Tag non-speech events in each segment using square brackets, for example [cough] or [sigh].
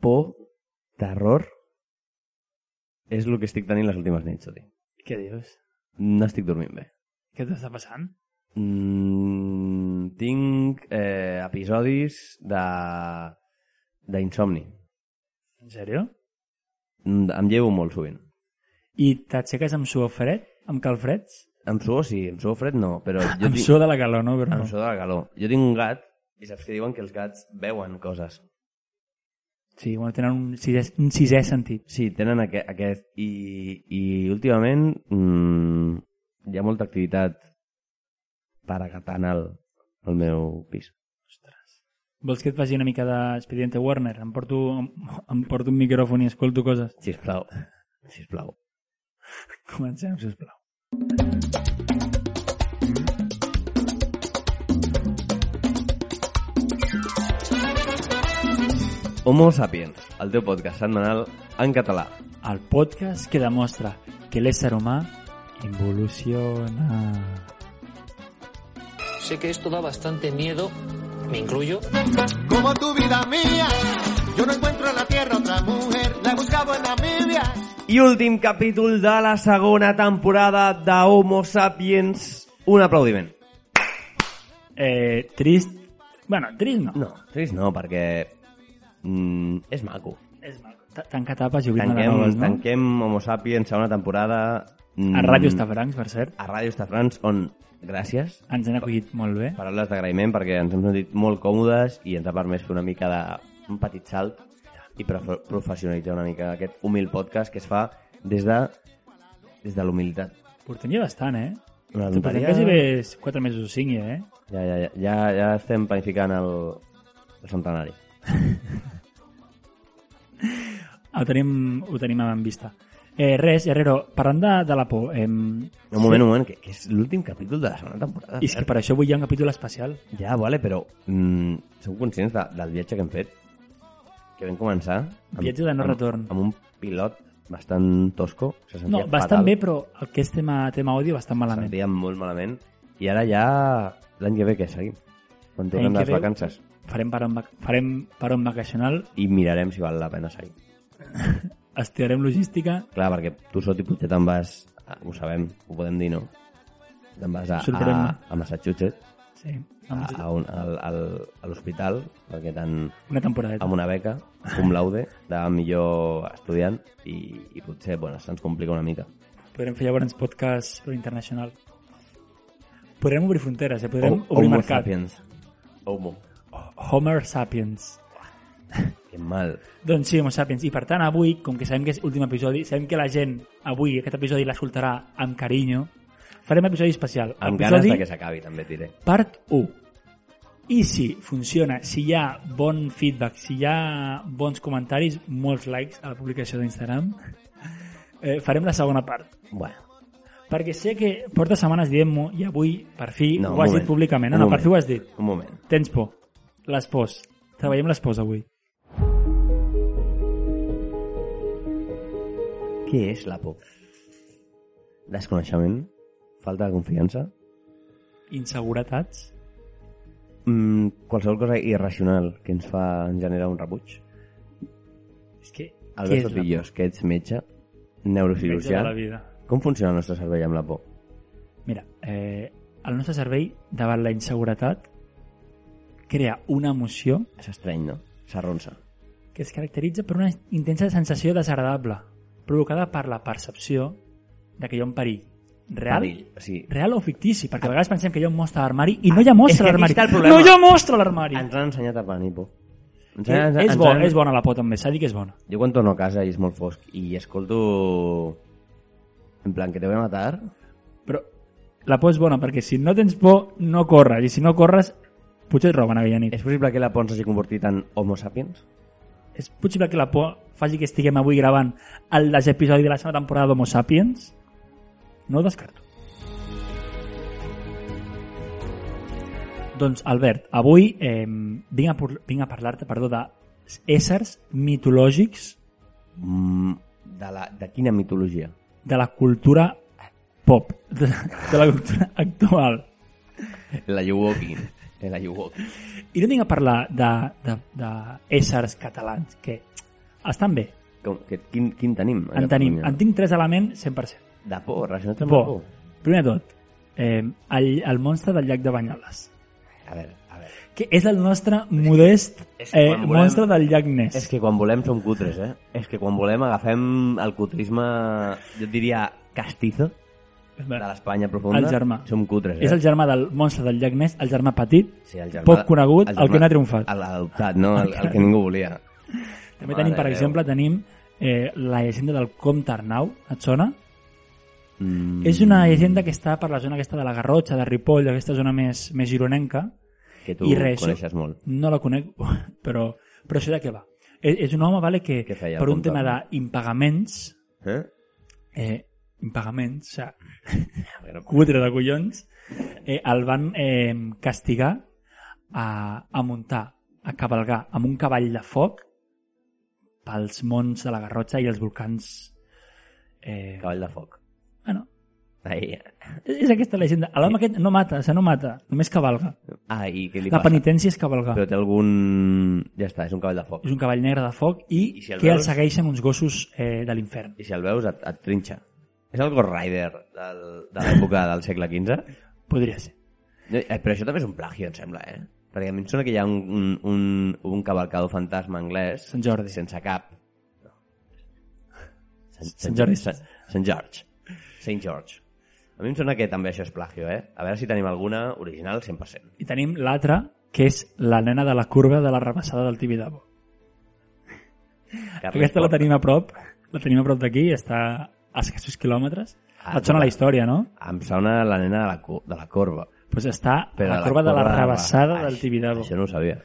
por, terror, és el que estic tenint les últimes nits, Jordi. Què dius? No estic dormint bé. Què t'està passant? Mm, tinc eh, episodis de d'insomni. En sèrio? Mm, Em llevo molt sovint. I t'aixeques amb suor fred? Amb calfreds? Em suor, sí, em suor fred no, però jo amb tinc... suor de la calor, no? Però Em no. suor de la calor. Jo tinc un gat i saps que diuen que els gats veuen coses. Sí, bueno, tenen un sisè, un sisè sentit. Sí, tenen aquest... aquest i, I últimament mmm, hi ha molta activitat paragatanal al meu pis. Vols que et faci una mica d'Expediente Warner? Em porto, em, em porto un micròfon i escolto coses. Sisplau, sisplau. Comencem, sisplau. Homo Sapiens, el teu podcast setmanal en català. El podcast que demostra que l'ésser humà involuciona. Sé que esto da bastante miedo, me incluyo. Como tu vida mía, yo no encuentro en la tierra otra mujer, la he buscado en Namibia. I últim capítol de la segona temporada de Homo Sapiens. Un aplaudiment. Eh, trist... Bueno, trist no. No, trist no, perquè mm, és maco. És maco. Ta- Tanca tapes i obrim Tanquem, noves, no? tanquem Homo Sapiens segona temporada. Mm, A Ràdio Estafrancs, per cert. a Ràdio Estafrans, on gràcies, Ens han acollit molt bé. paraules d'agraïment perquè ens hem sentit molt còmodes i ens ha permès fer una mica de un petit salt i profe- professionalitzar una mica aquest humil podcast que es fa des de des de l'humilitat. Portem ja bastant, eh? Una Portem tonteria. quasi bé 4 mesos o 5, ja, eh? Ja, ja, ja, ja, ja estem planificant el, el centenari. Ho tenim, ho tenim en vista. Eh, res, Herrero, parlant de, de la por, eh, Un moment, un moment, que, que és l'últim capítol de la segona temporada. i és que per això avui hi ha un capítol especial. Ja, vale, però mm, sou conscients de, del viatge que hem fet? Que vam començar... Viatge de no retorn. Amb, amb un pilot bastant tosco. Se sentia No, bastant fatal. bé, però el que és tema, tema àudio bastant Ho malament. sentíem molt malament. I ara ja l'any que ve que seguim. Quan tornem L'any que les ve- vacances. Farem per on, vac- farem per on vacacional, I mirarem si val la pena seguir. estirarem logística, Clar, perquè tu sot i potser te'n vas... a- Ho sabem, ho podem dir, no? Te'n vas a, a, Sorprèn-me. a Massachusetts, sí, a, amb a, un, al, al, a l'hospital, perquè t'han... una temporadeta. amb una beca, cum laude, de millor estudiant, i, i potser, bueno, se'ns complica una mica. Podrem fer llavors podcast però internacional. Podrem obrir fronteres, eh? podrem Ho- obrir Homo mercat. sapiens. Homo. Homer Sapiens. Que mal. Doncs sí, Homo Sapiens. I per tant, avui, com que sabem que és últim episodi, sabem que la gent avui aquest episodi l'escoltarà amb carinyo, farem episodi especial. Amb ganes episodi de que s'acabi, també, diré. part 1. I si funciona, si hi ha bon feedback, si hi ha bons comentaris, molts likes a la publicació d'Instagram, [laughs] eh, farem la segona part. Bueno, Perquè sé que porta setmanes dient-m'ho i avui, per fi, No, un no, ho has moment. dit públicament. Un No, no, per moment. fi ho has dit. un moment. Tens por. Les pors. Treballem les pors avui. Què és la por? Desconeixement? Falta de confiança? Inseguretats. Mm, qualsevol cosa irracional que ens fa generar un rebuig? És que... què Albert és la Sotillos, que ets metge, por? Metge neurocirurgià, de la vida. com funciona el nostre cervell amb la por? Mira, eh, el nostre cervell, davant la inseguretat, crea una emoció És estrany, no? S'arronsa. que es caracteritza per una intensa sensació desagradable, provocada per la percepció de que hi ha un perill. Real? Perill, O sigui, Real o fictici, perquè a vegades pensem que hi ha un mostre a l'armari i no hi ha mostre és que a aquí l'armari. està el problema. No hi ha mostre a l'armari. ens han ensenyat a tenir por. Ens han- ens- Eh, És, ens bo, han- és bona la por també, s'ha dit que és bona. Jo quan torno a casa i és molt fosc i escolto... En plan, que te voy a matar... Però la por és bona perquè si no tens por, no corres. I si no corres, potser et roben aquella nit. És possible que la por s'hagi convertit en homo sapiens? És possible que la por faci que estiguem avui gravant el desè episodi de la segona temporada d'Homo Sapiens? No ho descarto. Doncs, Albert, avui eh, vinc a, por- vinc a parlar-te perdó, de éssers mitològics Mm, de, la, de quina mitologia? de la cultura pop, de, de la cultura [laughs] actual. [laughs] La [laughs] Yuwoki. La Yuwoki. I no vinc a parlar de, de, de éssers catalans, que Estan bé. Com, que, quin, quin tenim? a En tenim. Catalunya? En tinc tres elements 100%. De por, relacionat amb la Por. por. Primer de tot, eh, el, el monstre del llac de Banyoles. A veure, a veure. Que és el nostre modest és que eh, quan volem- monstre del llac Ness. És que quan volem som cutres, eh? És que quan volem agafem el cutrisme, jo et diria castizo, de l'Espanya profunda. El germà. Som cutres, eh? És el germà del monstre del llac Ness, el germà petit, Sí, el germà, poc conegut, el, que no ha triomfat. El adoptat, no? El, el que ningú volia. També Mare tenim, per de Déu. exemple, tenim eh, la llegenda del comte Arnau, et sona? Mm, És una llegenda que està per la zona aquesta de la Garrotxa, de Ripoll, aquesta zona més, més gironenca. que tu i res, coneixes molt. No la conec, [laughs] però, però això de què va? És, és un home vale, que Què feia el per un comte tema Arnau? d'impagaments, Eh? eh, impagaments, o sigui, A veure, [laughs] cutre de collons, eh, el van eh, castigar a, a muntar, a cavalgar amb un cavall de foc pels mons de la Garrotxa i els volcans eh, Cavall de foc. bueno, Ai, és és aquesta llegenda. L'home aquest no mata, o sigui, no mata, només cavalga. ah, i què li La passa? penitència és cavalgar. Però té algun... Ja està, és un cavall de foc. És un cavall negre de foc i, I si el que el veus? segueixen uns gossos eh, de l'infern. I si el veus et, et trinxa. És el Ghost Rider del, de l'època del segle XV? Podria ser. No, eh, Però això també és un plagio, em sembla, eh? Perquè a mi em sona que hi ha un, un, un, un cavalcador fantasma anglès... Sant Jordi. Sense cap. No. Sant, Sant Jordi. Sant, Sant George. Saint George. A mi em sona que també això és plagio, eh? A veure si tenim alguna original 100%. I tenim l'altra, que és la nena de la curva de la rebassada del Tibidabo. Carles Aquesta la Porta. tenim a prop, la tenim a prop d'aquí, està a escassos quilòmetres. Ah, Et sona la història, no? Em sona la nena de la, co- de la corba. Doncs està a Però la curva de la rebassada del Ai, Tibidabo. Això no ho sabia.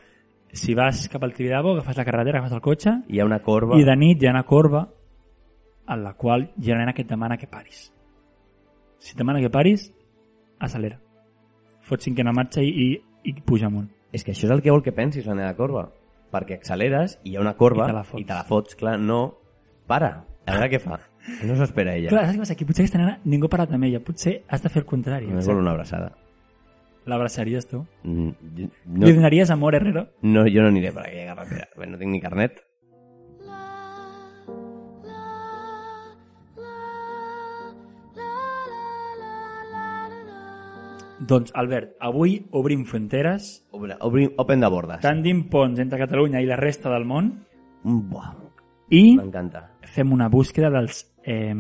Si vas cap al Tibidabo, agafes la carretera, agafes el cotxe, Hi ha una corba... i de nit hi ha una corba en la qual hi ha una nena que et demana que paris. Si et demana que paris, accelera. Fot cinquena marxa i, i, i puja amunt. És que això és el que vol que pensis, la nena corba. Perquè acceleres i hi ha una corba I te la fots. i te la fots clar, no, para. A veure què fa. Que No s'espera ella. Ja. Clar, saps què passa? Aquí potser aquesta nena ningú ha parat amb ella. Potser has de fer el contrari. Només vol una abraçada. L'abraçaries tu? Mm, jo- No. Li No, donaries amor, Herrero? no, jo no aniré per aquella carretera. Bé, No tinc ni carnet. Doncs, Albert, avui obrim fronteres, Obre, obri, open de bordes. tandim ponts entre Catalunya i la resta del món Mm, Buah, i m'encanta. fem una búsqueda dels eh,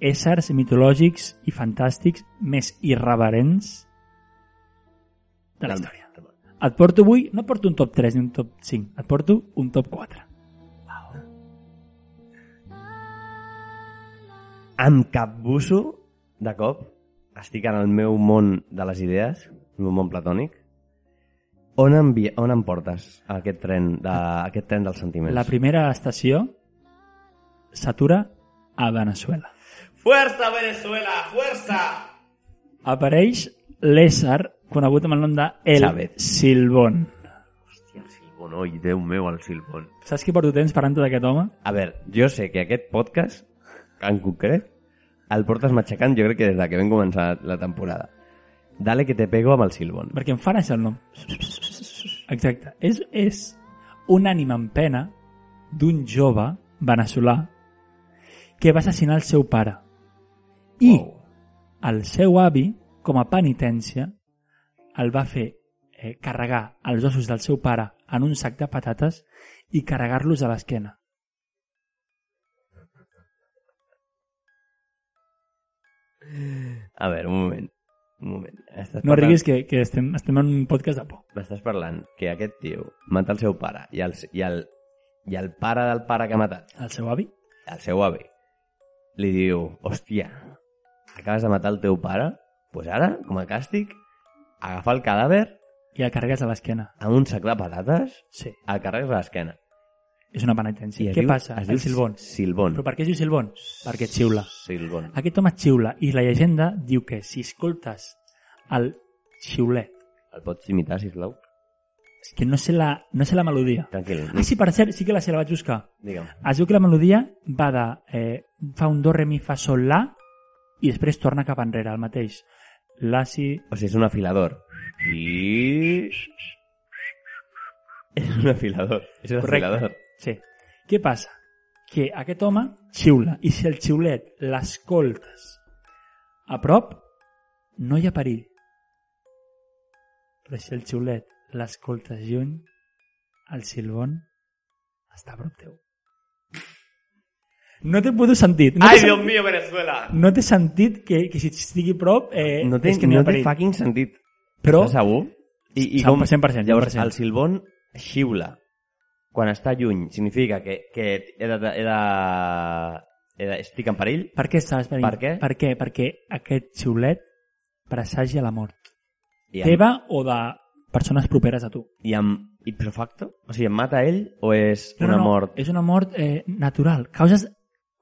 éssers mitològics i fantàstics més irreverents de la història. Et porto avui, no porto un top 3 ni un top 5, et porto un top 4. Em capbusso, de cop, estic en el meu món de les idees, el meu món platònic. On, envia, on em portes a aquest tren, de, a aquest tren dels sentiments? La primera estació s'atura a Venezuela. ¡Fuerza, Venezuela! ¡Fuerza! Apareix l'ésser conegut amb el nom de El Chávez. Silbón. Hòstia, el Silbon, oi, Déu meu, el Silbon. Saps que porto temps parlant d'aquest home? A veure, jo sé que aquest podcast, en concret, el portes matxacant jo crec que des de que vam començar la temporada. Dale que te pego amb el Silbon. Perquè em fa néixer el nom. Exacte. És, és un ànima en pena d'un jove veneçolà que va assassinar el seu pare. I Uau. el seu avi, com a penitència, el va fer eh, carregar els ossos del seu pare en un sac de patates i carregar-los a l'esquena. A veure, un moment. Un moment. Estàs No riguis que, que estem, estem en un podcast de por. M'estàs parlant que aquest tio mata el seu pare i el, i el, i el pare del pare que ha matat, El seu avi? el seu avi, li diu, hòstia, acabes de matar el teu pare? Doncs pues ara, com a càstig, agafar el cadàver I el carregues a l'esquena. amb un sac de patates Sí. el carregues a l'esquena. És una I penitència. es Què diu- passa? Es El diu Silbón. Silbón. Però per què es diu Silbón? Perquè xiula. Silbón. Aquest home xiula i la llegenda diu que si escoltes el xiulet, El pots imitar, sisplau? és que no sé la, no sé la melodia. Tranquil. Ah, sí, per cert, sí que la sé, la vaig buscar. Digue'm. Es diu que la melodia va de... Eh, fa un do, re, mi, fa, sol, la i després torna cap enrere, el mateix. La, si... O sigui, és un afilador. I... És un afilador. És un Correcte. afilador. Sí. Què passa? que aquest home xiula i si el xiulet l'escoltes a prop, no hi ha perill. Però si el xiulet l'escoltes lluny, el silbon està a prop teu. No té puto sentit. No té, sen- mío, Venezuela! no té sentit que, que si estigui a prop eh, No té, és que no, hi no ha té perill. fucking sentit. Però Estàs segur? I, i Segur, com, 100%, Llavors, 100%. el Silbón xiula. Quan està lluny, significa que, que he de, he de, he de, estic en perill. per què estàs venint? Per què? Per què? Perquè aquest xiulet presagia la mort. I em, Teva o de persones properes a tu. i em, i pro facto? O sigui, em mata ell o és No, una no, no, mort? És una mort eh, natural. Causes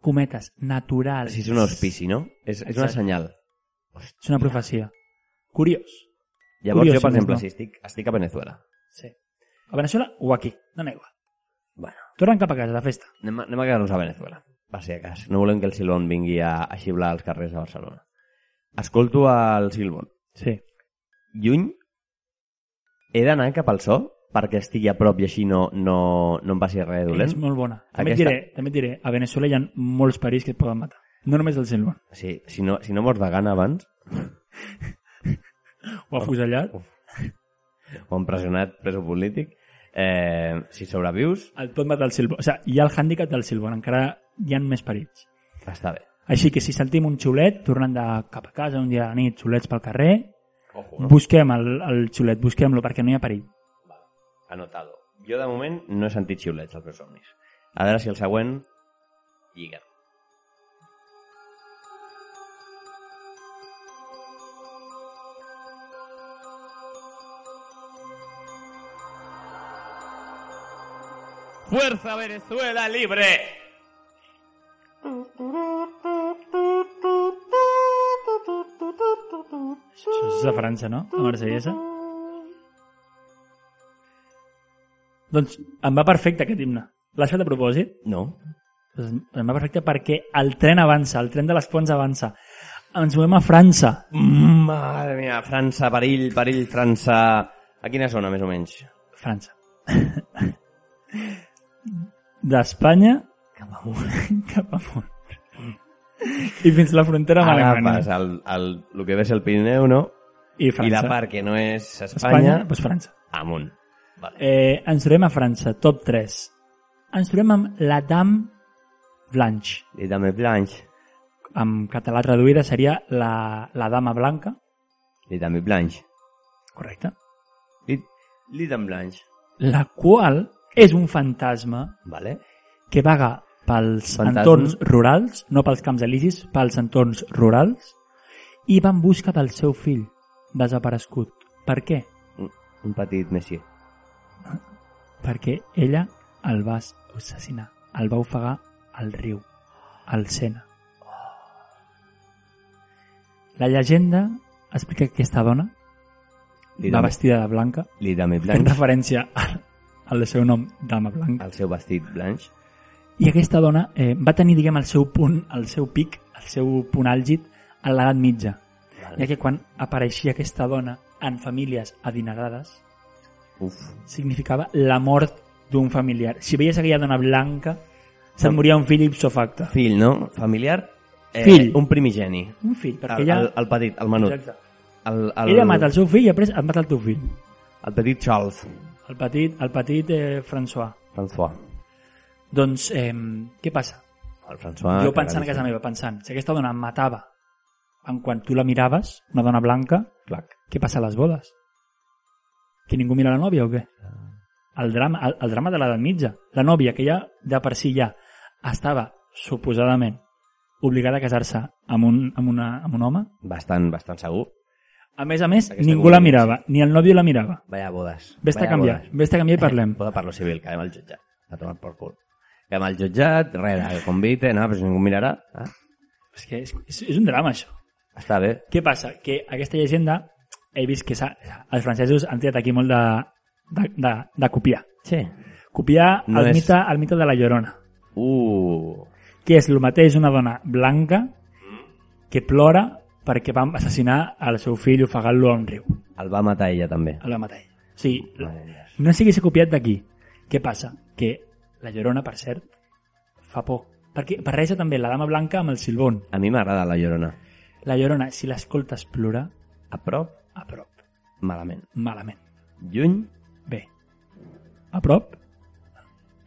cometes, naturals. Si és un auspici, no? És, és una Exacte. senyal. És una profecia. Curiós. Llavors Curiós, jo, per si més exemple, no. si estic, estic a Venezuela, Sí. A Venezuela o aquí. No n'hi igual. Bueno. Tornen cap a casa, de festa. anem, a- anem a quedar-nos a Venezuela, per si de cas. No volem que el Silbón vingui a, a xiular als carrers de Barcelona. Escolto el Silbón. Sí. lluny, he d'anar cap al so perquè estigui a prop i així no, no, no em passi res És dolent. molt bona. També, Aquesta- et diré, també et diré, a Venezuela hi ha molts perills que et poden matar. No només el Silvan. Sí, si, no, si no mors de gana abans, O afusellat. o empresonat preso polític, eh, si sobrevius, El pot matar el Silvan. O sigui, hi ha el hàndicap del Silvan. Encara hi ha més perills. està bé. Així que si sentim un xulet, tornant de cap a casa un dia a la nit, xulets pel carrer, Ojo, busquem el, el xulet, busquem-lo perquè no hi ha perill. Anotado. Jo, de moment, no he sentit xiulets als meus somnis. A veure si el següent lliga. ¡Fuerza Venezuela libre! Això és a França, no? A Marsellesa. Doncs em va perfecte aquest himne. L'has fet a propòsit? No. Doncs em va perfecte perquè el tren avança, el tren de les ponts avança. Ens movem a França. Mare meva, França, perill, perill, França... A quina zona, més o menys? França. D'Espanya cap amunt. [laughs] cap amunt. I fins la frontera amb Agafes Alemanya. el, el, el que ves el Pirineu, no? I I França. la part que no és Espanya, Espanya, doncs França. amunt. Vale. Eh, ens trobem a França, top 3. Ens trobem amb la Dame Blanche. I Dame Blanche, En català traduïda seria la, la Dama Blanca. i Dame Blanche, Correcte. i, i Dame Blanche, La qual és un fantasma vale? que vaga pels Fantasma. entorns rurals, no pels camps elisis, pels entorns rurals, i va en busca del seu fill desaparegut. Per què? Un, un petit Messi. Perquè ella el va assassinar, el va ofegar al riu, al Sena. La llegenda explica que aquesta dona Li va dame- vestida de blanca, Li Dame fent [laughs] Blanche, referència al, al seu nom, Dama Blanca. el seu vestit Blanche, I aquesta dona eh, va tenir, diguem, el seu punt, el seu pic, el seu punt àlgid a l'edat mitja, vale. ja que quan apareixia aquesta dona en famílies adinerades, Uf, significava la mort d'un familiar. Si veies aquella dona blanca, se't moria un fill ipso facto. fill, no? Familiar? Eh, Fill. Un primigeni. Un fill, perquè El, ella... el, el petit, el menut. Exacte. El, el, Ella mata el seu fill i després et mata el teu fill. el petit Charles, El petit, el petit eh, François. François. Doncs, eh, què passa? El François... jo pensant a casa meva, pensant, si aquesta dona em matava en quan tu la miraves, una dona blanca, Clac. Què passa a les bodes? Que ningú mira la nòvia o què? Ah. El drama, el, el drama de l'edat mitja. La nòvia, que ja de per si ja estava, suposadament, obligada a casar-se amb, un, amb, una, amb un home, Bastant, bastant segur. a més a més, Aquesta ningú la convivència. mirava, ni el nòvio la mirava. Vaya bodes. Vés-te a Vaya canviar, bodes. vés-te a canviar i [laughs] parlem. Poda per lo civil, quedem al jutjat. A tomar por cul. Quedem al jutjat, res, el convite, no, però si ningú mirarà. Ah, És que és, és, és un drama, això. està bé. Què passa? Que aquesta llegenda he vist que s'ha- els francesos han tirat aquí molt de, de, de, de copiar. Sí. Copiar No el, és- mite, el mite de la Llorona. Uh, que és el mateix una dona blanca que plora perquè van assassinar el seu fill ofegant-lo a un riu. el va matar ella també. El va matar ell. O sigui, Mare meva. no s'hagués copiat d'aquí. Què passa? Que la Llorona, per cert, fa por. Perquè barreja també la dama blanca amb el silbón. A mi m'agrada La Llorona. La Llorona, si l'escoltes plorar, A prop, a prop. malament. Malament. Lluny, Bé. A prop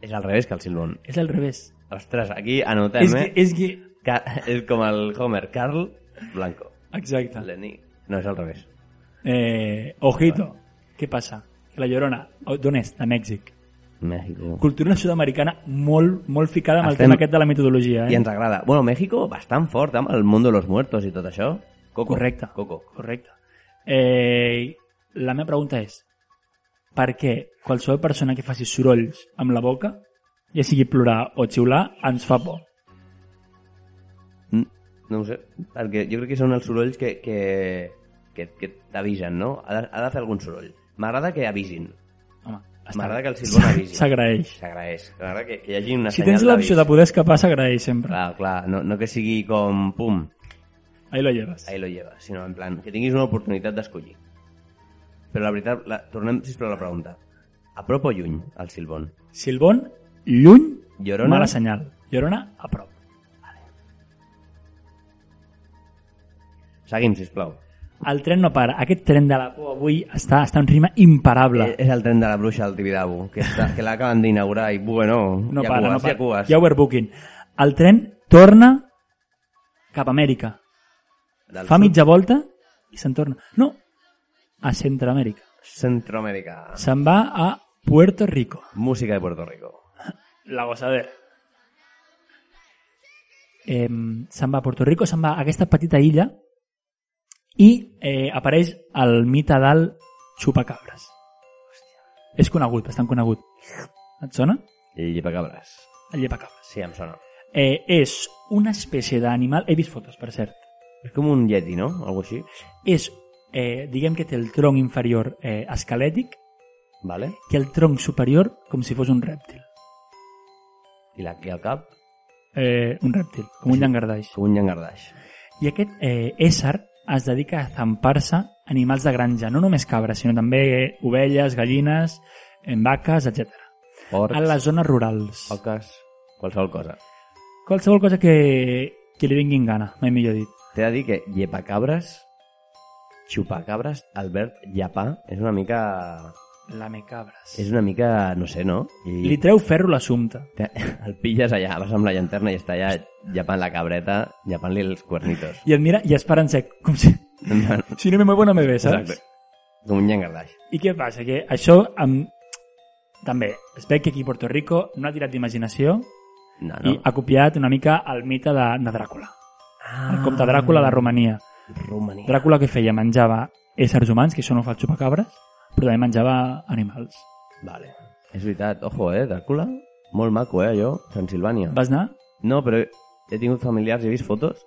és al revés que el Silbón. és al revés. Ostres, aquí anotem, És que, eh? és que... Ca és com el Homer, Carl Blanco. Exacte. Lenny. No, és al revés. Eh, ojito. Què passa? Que La Llorona, d'on és? De Mèxic. México. Cultura sud-americana molt, molt ficada amb Estem- el tema aquest de la metodologia. Eh? I ens agrada. Bueno, México bastant fort, amb el món de los muertos i tot això. Coco. Correcte. Coco. Correcte. Eh, la meva pregunta és, per què qualsevol persona que faci sorolls amb la boca, ja sigui plorar o xiular, ens fa por? Mm, No ho sé, perquè jo crec que són els sorolls que, que, que, que t'avisen, no? Ha de, ha de fer algun soroll. M'agrada que avisin. Home, està M'agrada bé. que el silbón [laughs] avisi. S'agraeix. S'agraeix. M'agrada que, que hi hagi una Si senyal tens l'opció de d'avís. poder escapar, s'agraeix sempre. Clar, clar, no, no que sigui com pum, Ahí la lleves. ahí lo llevas, sinó en plan, que tinguis una oportunitat d'escollir. Però la veritat, la, tornem, sisplau, a la pregunta. A prop o lluny, el silbón? Silbón, lluny, Llorona? mala senyal. Llorona, a prop. Seguim, sisplau. El tren no para. Aquest tren de la por avui està, està en rima imparable. Eh, És el tren de la bruixa del Tibidabo, que, està, que l'acaben d'inaugurar i, bueno, no hi ha para, cues, no para. hi ha cues. Hi ha overbooking. El tren torna cap a Amèrica. Del Fa sud- mitja volta i se'n torna. No, a Centroamèrica. Centroamèrica. Se'n va a Puerto Rico. Música de Puerto Rico. La gossadera. Eh, se'n va a Puerto Rico, se'n va a aquesta petita illa i eh, apareix el mite del xupacabres. És conegut, bastant conegut. Et sona? Llepacabres. El llepacabres. Sí, em sona. Eh, és una espècie d'animal... He vist fotos, per cert. És com un yeti, no? Algo així. És, eh, diguem que té el tronc inferior eh, esquelètic Vale. i el tronc superior com si fos un rèptil. I, la, i el cap, Eh, un rèptil, com un llangardaix. com un llangardaix. I aquest eh, ésser es dedica a zampar-se animals de granja, no només cabres, sinó també eh, ovelles, gallines, eh, vaques, etc. Porcs, A les zones rurals. oques, qualsevol cosa. Qualsevol cosa que, que li vinguin gana, mai millor dit. T'he de dir que llepacabres, xupacabres, el verb llapar, és una mica... La me cabres. És una mica, no sé, no? I Li treu ferro l'assumpte. te- [laughs] el pilles allà, vas amb la llanterna i està allà llapant la cabreta, llapant-li els [laughs] cuernitos. I et mira i es para en sec, com si... Si no me muevo no me ve, saps? Exacte. Com un llangardaix. I què passa? Que això em... també es veu que aquí a Puerto Rico no ha tirat d'imaginació No, i Ah, no. ha copiat una mica el mite de, de Dràcula. Ah, El comte Dràcula de Romania. Romania. Dràcula que feia? Menjava éssers humans, que això no ho fa el xupacabres, però també menjava animals. Vale. És veritat. Ojo, eh, Dràcula? Molt maco, eh, allò, Transilvània. Vas anar? No, però he tingut familiars i he vist fotos.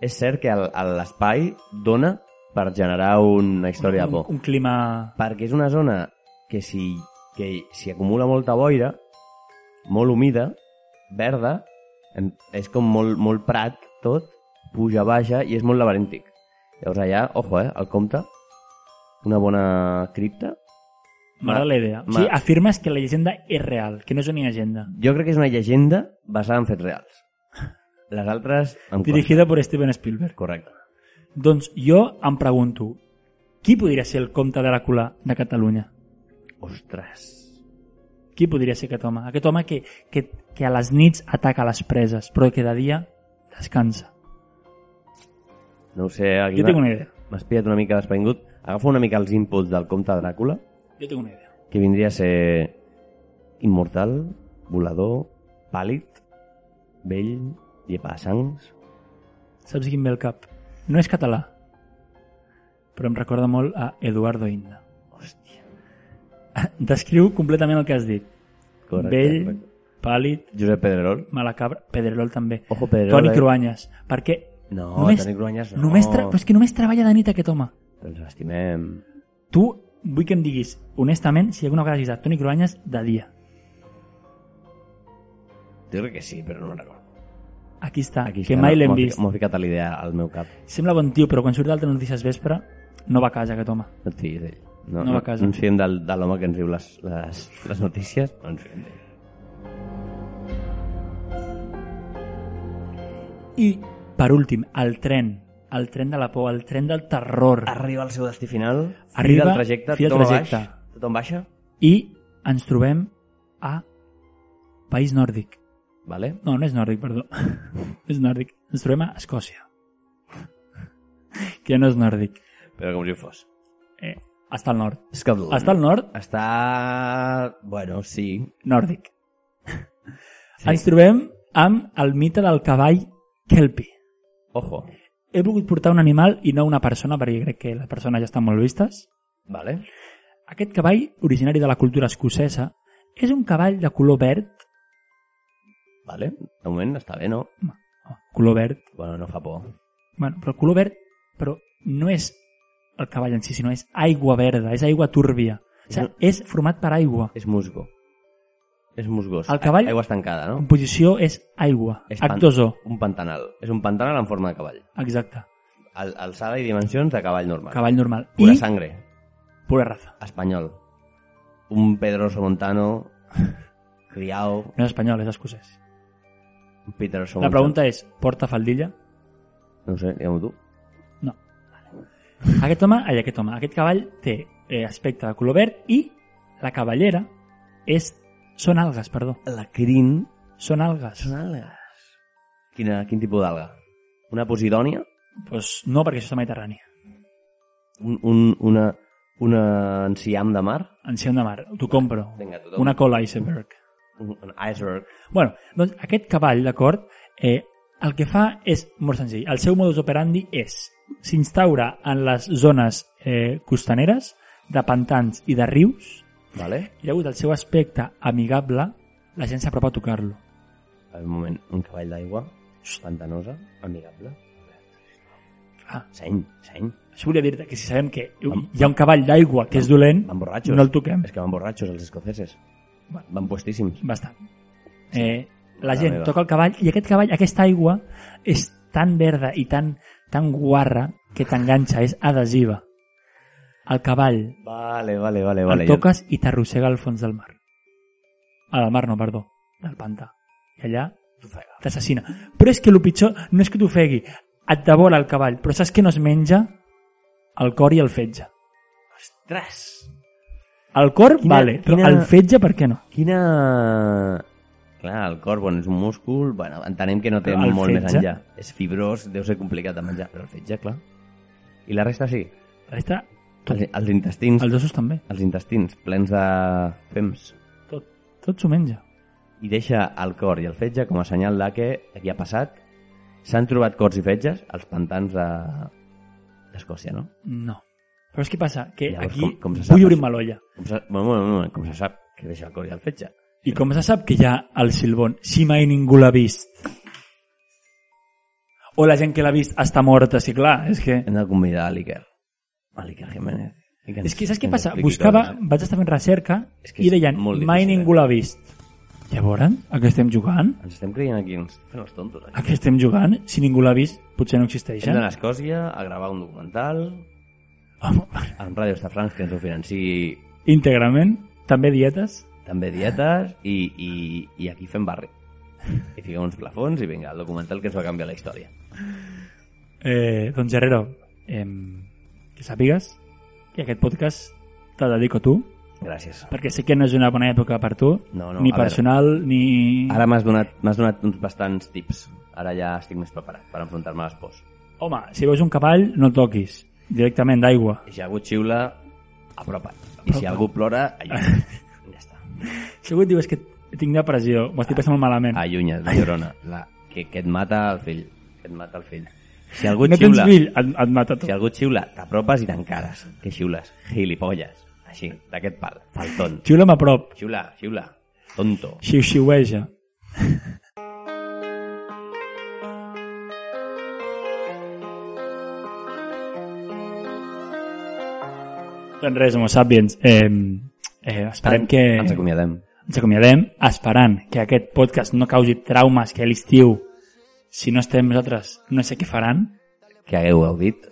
És cert que el- el- l'espai dona per generar una història de un, por. un clima... Perquè és una zona que si, que si acumula molta boira, molt humida, verda, em- és com molt, molt prat tot, puja, baixa i és molt laberíntic. Llavors allà, ojo, eh, el compte, una bona cripta, M'agrada la idea. O sigui, Ma- afirmes que la llegenda és real, que no és una llegenda. Jo crec que és una llegenda basada en fets reals. Les altres... Em costa. Dirigida per Steven Spielberg. Correcte. Doncs jo em pregunto, qui podria ser el comte Dràcula de Catalunya? Ostres. Qui podria ser aquest home? Aquest home que, que, que a les nits ataca les preses, però que de dia descansa. No ho sé, aquí Jo tinc una idea. m'has pillat una mica despengut. Agafa una mica els inputs del comte Dràcula, Jo tinc una idea. que vindria a ser immortal, volador, pàl·lid, vell, llepa de sangs... Saps quin ve el cap? No és català, però em recorda molt a Eduardo Inda. Hòstia. [laughs] Descriu completament el que has dit. Correcte. Vell, correcte. pàl·lid, Josep Pedrerol. mala cabra, Pedrerol també. Ojo, Pedrerol. Toni eh? Cruanyes. Perquè No, Només- Toni Cruanyes no. només tra... però és que només treballa de nit aquest home. Ens Doncs l'estimem. Tu vull que em diguis, honestament, si alguna vegada has vist a Toni Cruanyes de dia. Jo crec que sí, però no me'n recordo. Aquí està, Aquí Aquí que està, mai no? l'hem M'ho ha vist. fi- M'ho ha ficat a l'idea al meu cap. Sembla bon tio, però quan surt d'altres notícies vespre, no va a casa aquest home. No et figuis d'ell. No va a casa. No ens fiem del, de l'home que ens diu les, les, les notícies. No ens fiem d'ell. I, per últim, el tren. El tren de la por, el tren del terror. Arriba al seu destí final, Arriba, fi del trajecte, fi del tothom trajecte. a baix, tothom baixa, I ens trobem a País Nòrdic. vale? No, no és nòrdic, perdó. [laughs] és nòrdic. Ens trobem a Escòcia. [laughs] que no és nòrdic. però com si ho fos. Eh, està al nord. Scotland. Està al nord, Està... Bueno, sí. nòrdic. Sí. Ens trobem amb el mite del cavall Kelpie. Ojo. He volgut portar un animal i no una persona, perquè crec que les persones ja estan molt vistes. Vale. Aquest cavall, originari de la cultura escocesa, és un cavall de color verd, Vale. De moment està bé, no? oh, color verd, Bueno, no fa por. bueno, però color verd, però no és el cavall en si, sinó és aigua verda, és aigua túrbia. O sigui, No. és format per aigua. És musgo. És musgós. El cavall- A- Aigua estancada, no? Composició és aigua. És pan- H2O. Un pantanal. És un pantanal en forma de cavall. Exacte. Al, alçada i dimensions de cavall normal. Cavall normal. Pura I sangre. pura raza. Espanyol. Un Pedroso [laughs] Montano. Criao. No és espanyol, és escocès. Un Peterson La Montano. pregunta és, porta [laughs] faldilla? No ho sé, diguem-ho tu. No. Aquest home, ai, aquest home, aquest cavall té eh, aspecte de color verd i la cavallera és... Són algues, perdó. La crin... Són algues. Són algues. Quina, quin tipus d'alga? Una posidònia? Pues no, perquè això és la Mediterrània. Un, un, una, una enciam de mar? Enciam de mar, t'ho compro. Vinga, tothom. Una cola iceberg. Un, un iceberg? Bueno, doncs aquest cavall, d'acord, eh, el que fa és molt senzill. El seu modus operandi és s'instaura en les zones eh, costaneres, de pantans i de rius, Vale? i degut al seu aspecte amigable, la gent s'apropa a tocar-lo. A veure, Un moment, un cavall d'aigua, pantanosa, amigable. Ah. Seny, seny. Això volia dir que si sabem que hi ha un cavall d'aigua que és dolent, Van borratxos. no el toquem. És que van borratxos els escoceses. Bueno. Van puestíssims. Bastant. Eh, la La gent meva. toca el cavall i aquest cavall, aquesta aigua, és tan verda i tan, tan guarra que t'enganxa, és adhesiva. El cavall Vale, vale, vale. vale, vale. el toques i t'arrossega al fons del mar. A la mar no, perdó, del pantà. I allà t'assassina. Però és que el pitjor no és que t'ofegui, et devora el cavall, però saps que no es menja? El cor i el fetge. Ostres! El cor, Quina- vale, però quina- el fetge per què no? Quina... Clar, el cor, bon, és un múscul, bueno, entenem que no té Però el molt més fetge? enllà. És fibrós, deu ser complicat de menjar, però el fetge, clar. I la resta sí. Resta, Els, els intestins, els ossos també. els intestins plens de fems. Tot, tot s'ho menja. i deixa el cor i el fetge com a senyal de que aquí ha passat. S'han trobat cors i fetges als pantans de- d'Escòcia, no? No. Però és que passa que Llavors, aquí com- com se sap vull això? obrir-me l'olla. Com se, bueno, bueno, bueno, com se sap que deixa el cor i el fetge? I com se sap que hi ha el Silbón si mai ningú l'ha vist? O la gent que l'ha vist està morta, sí, clar, és que... Hem de convidar a l'Iker. A l'Iker Jiménez. I que ens- És que saps què ens passa? expliqui eh? Buscava, coses. vaig estar fent recerca És que i és deien, molt difícil, mai eh?" ningú l'ha vist. Llavors, a què estem jugant? Ens estem creient aquí, ens estem fent els tontos. Aquí. A què estem jugant? Si ningú l'ha vist, potser no existeix, Hem d'anar a eh? Escòcia a gravar un documental Home, amb Ràdio Estafrancs que ens ho financi íntegrament, també dietes. també dietes i, i, i aquí fem barri. I fiquem uns plafons i vinga, el documental que ens va canviar la història. Eh, doncs, Herrero, em, que sàpigues que aquest podcast te dedico a tu, Gràcies. perquè sé que no és una bona època per tu, No, no, ni a veure. personal, ni... Ara m'has donat, m'has donat uns bastants tips. Ara ja estic més preparat per enfrontar-me a les pors. Home, si veus un cavall, no el toquis, directament d'aigua. I si algú et xiula, apropa't. I si Apropa't. algú plora, allà. [laughs] ja està. Si algú et diu és que tinc depressió, ho estic passant molt malament. Allunya't, la llorona. La, que, que et mata el fill. Que et mata el fill. Si algú et no tens xiula, fill, et, et mata tu. si algú et xiula, t'apropes i t'encares. Que xiules? Gilipolles. Així, d'aquest pal. Falton. Xiula'm a prop, Xiula, xiula. Tonto. xiu-xiueja. [laughs] doncs res, homo sapiens, eh, eh, esperem que... Ens acomiadem. Ens acomiadem esperant que aquest podcast no causi traumes que a l'estiu, si no estem nosaltres, no sé què faran. Que hagueu gaudit.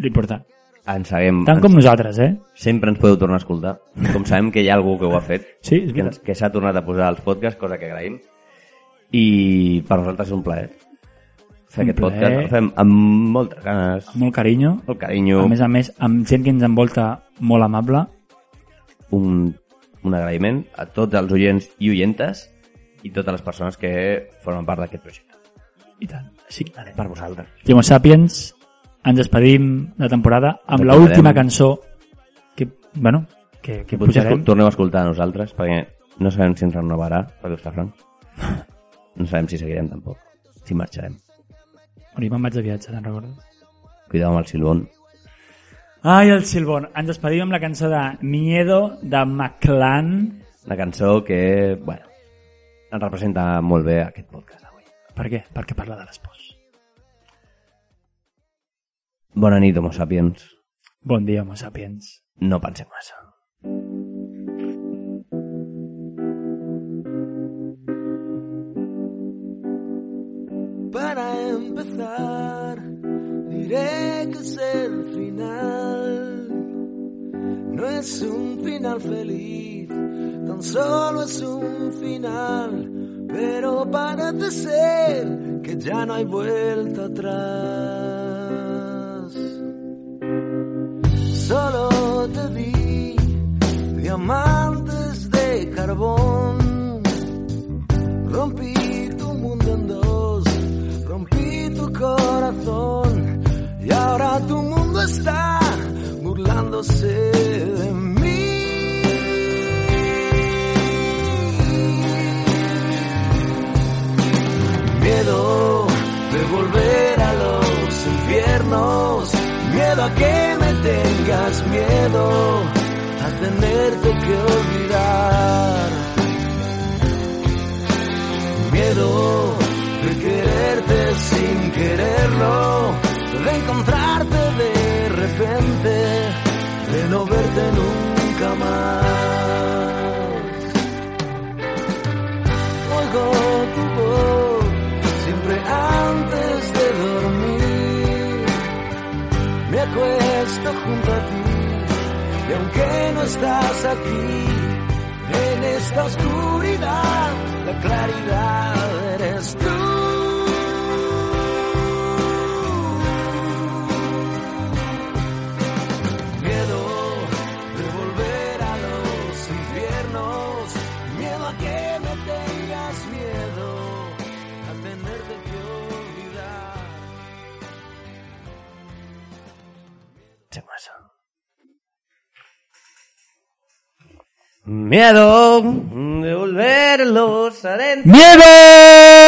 L'important. Ens haguem... Tant ens- com nosaltres, eh? Sempre ens podeu tornar a escoltar. Com sabem que hi ha algú que ho ha fet. Sí, és que, veritat. ens- que s'ha tornat a posar als podcasts, cosa que agraïm. I per nosaltres és un plaer. fer aquest plaer. podcast. El fem amb moltes ganes, Amb molt carinyo. molt carinyo, A més a més, amb gent que ens envolta molt amable. un, un agraïment a tots els oients i oyentes i totes les persones que formen part d'aquest projecte. I tant. Així que Per vosaltres. Homo Sapiens, ens despedim de temporada amb Recordarem- l'última cançó que, bueno, que, que Que potser posarem. Pues escol- torneu a escoltar a nosaltres, perquè no sabem si ens renovarà, perquè us fa franc. No sabem si seguirem tampoc, si marxarem. On me'n vaig de viatge, te'n recordes? Cuidao amb el silbón. Ai, el Silbón. Ens despedim amb la cançó de Miedo, de McClan. Una cançó que, bueno, ens representa molt bé aquest podcast d'avui. Per què? Perquè parla de les pors. Bona nit, homo sapiens. Bon dia, Homo Sapiens. No pensem massa. Para empezar, diré que es el final. No es un final feliz, tan solo es un final. Pero parece ser que ya no hay vuelta atrás. Solo te di diamantes de carbón. Rompí tu mundo en dos, rompí tu corazón y ahora tu mundo está burlándose de mí. Miedo de volver a los infiernos, miedo a que me tengas miedo, a tenerte que olvidar miedo de quererte sin quererlo, de encontrarte de repente, de no verte nunca más. Oigo tu voz siempre antes de dormir, me acuesto junto a ti y aunque no estás aquí, en esta oscuridad, la claridad eres tú. Miedo de volver a los infiernos, miedo a que me tengas miedo, a tenerte que olvidar. Se massa. Miedo de volver los arenales. ¡Miedo!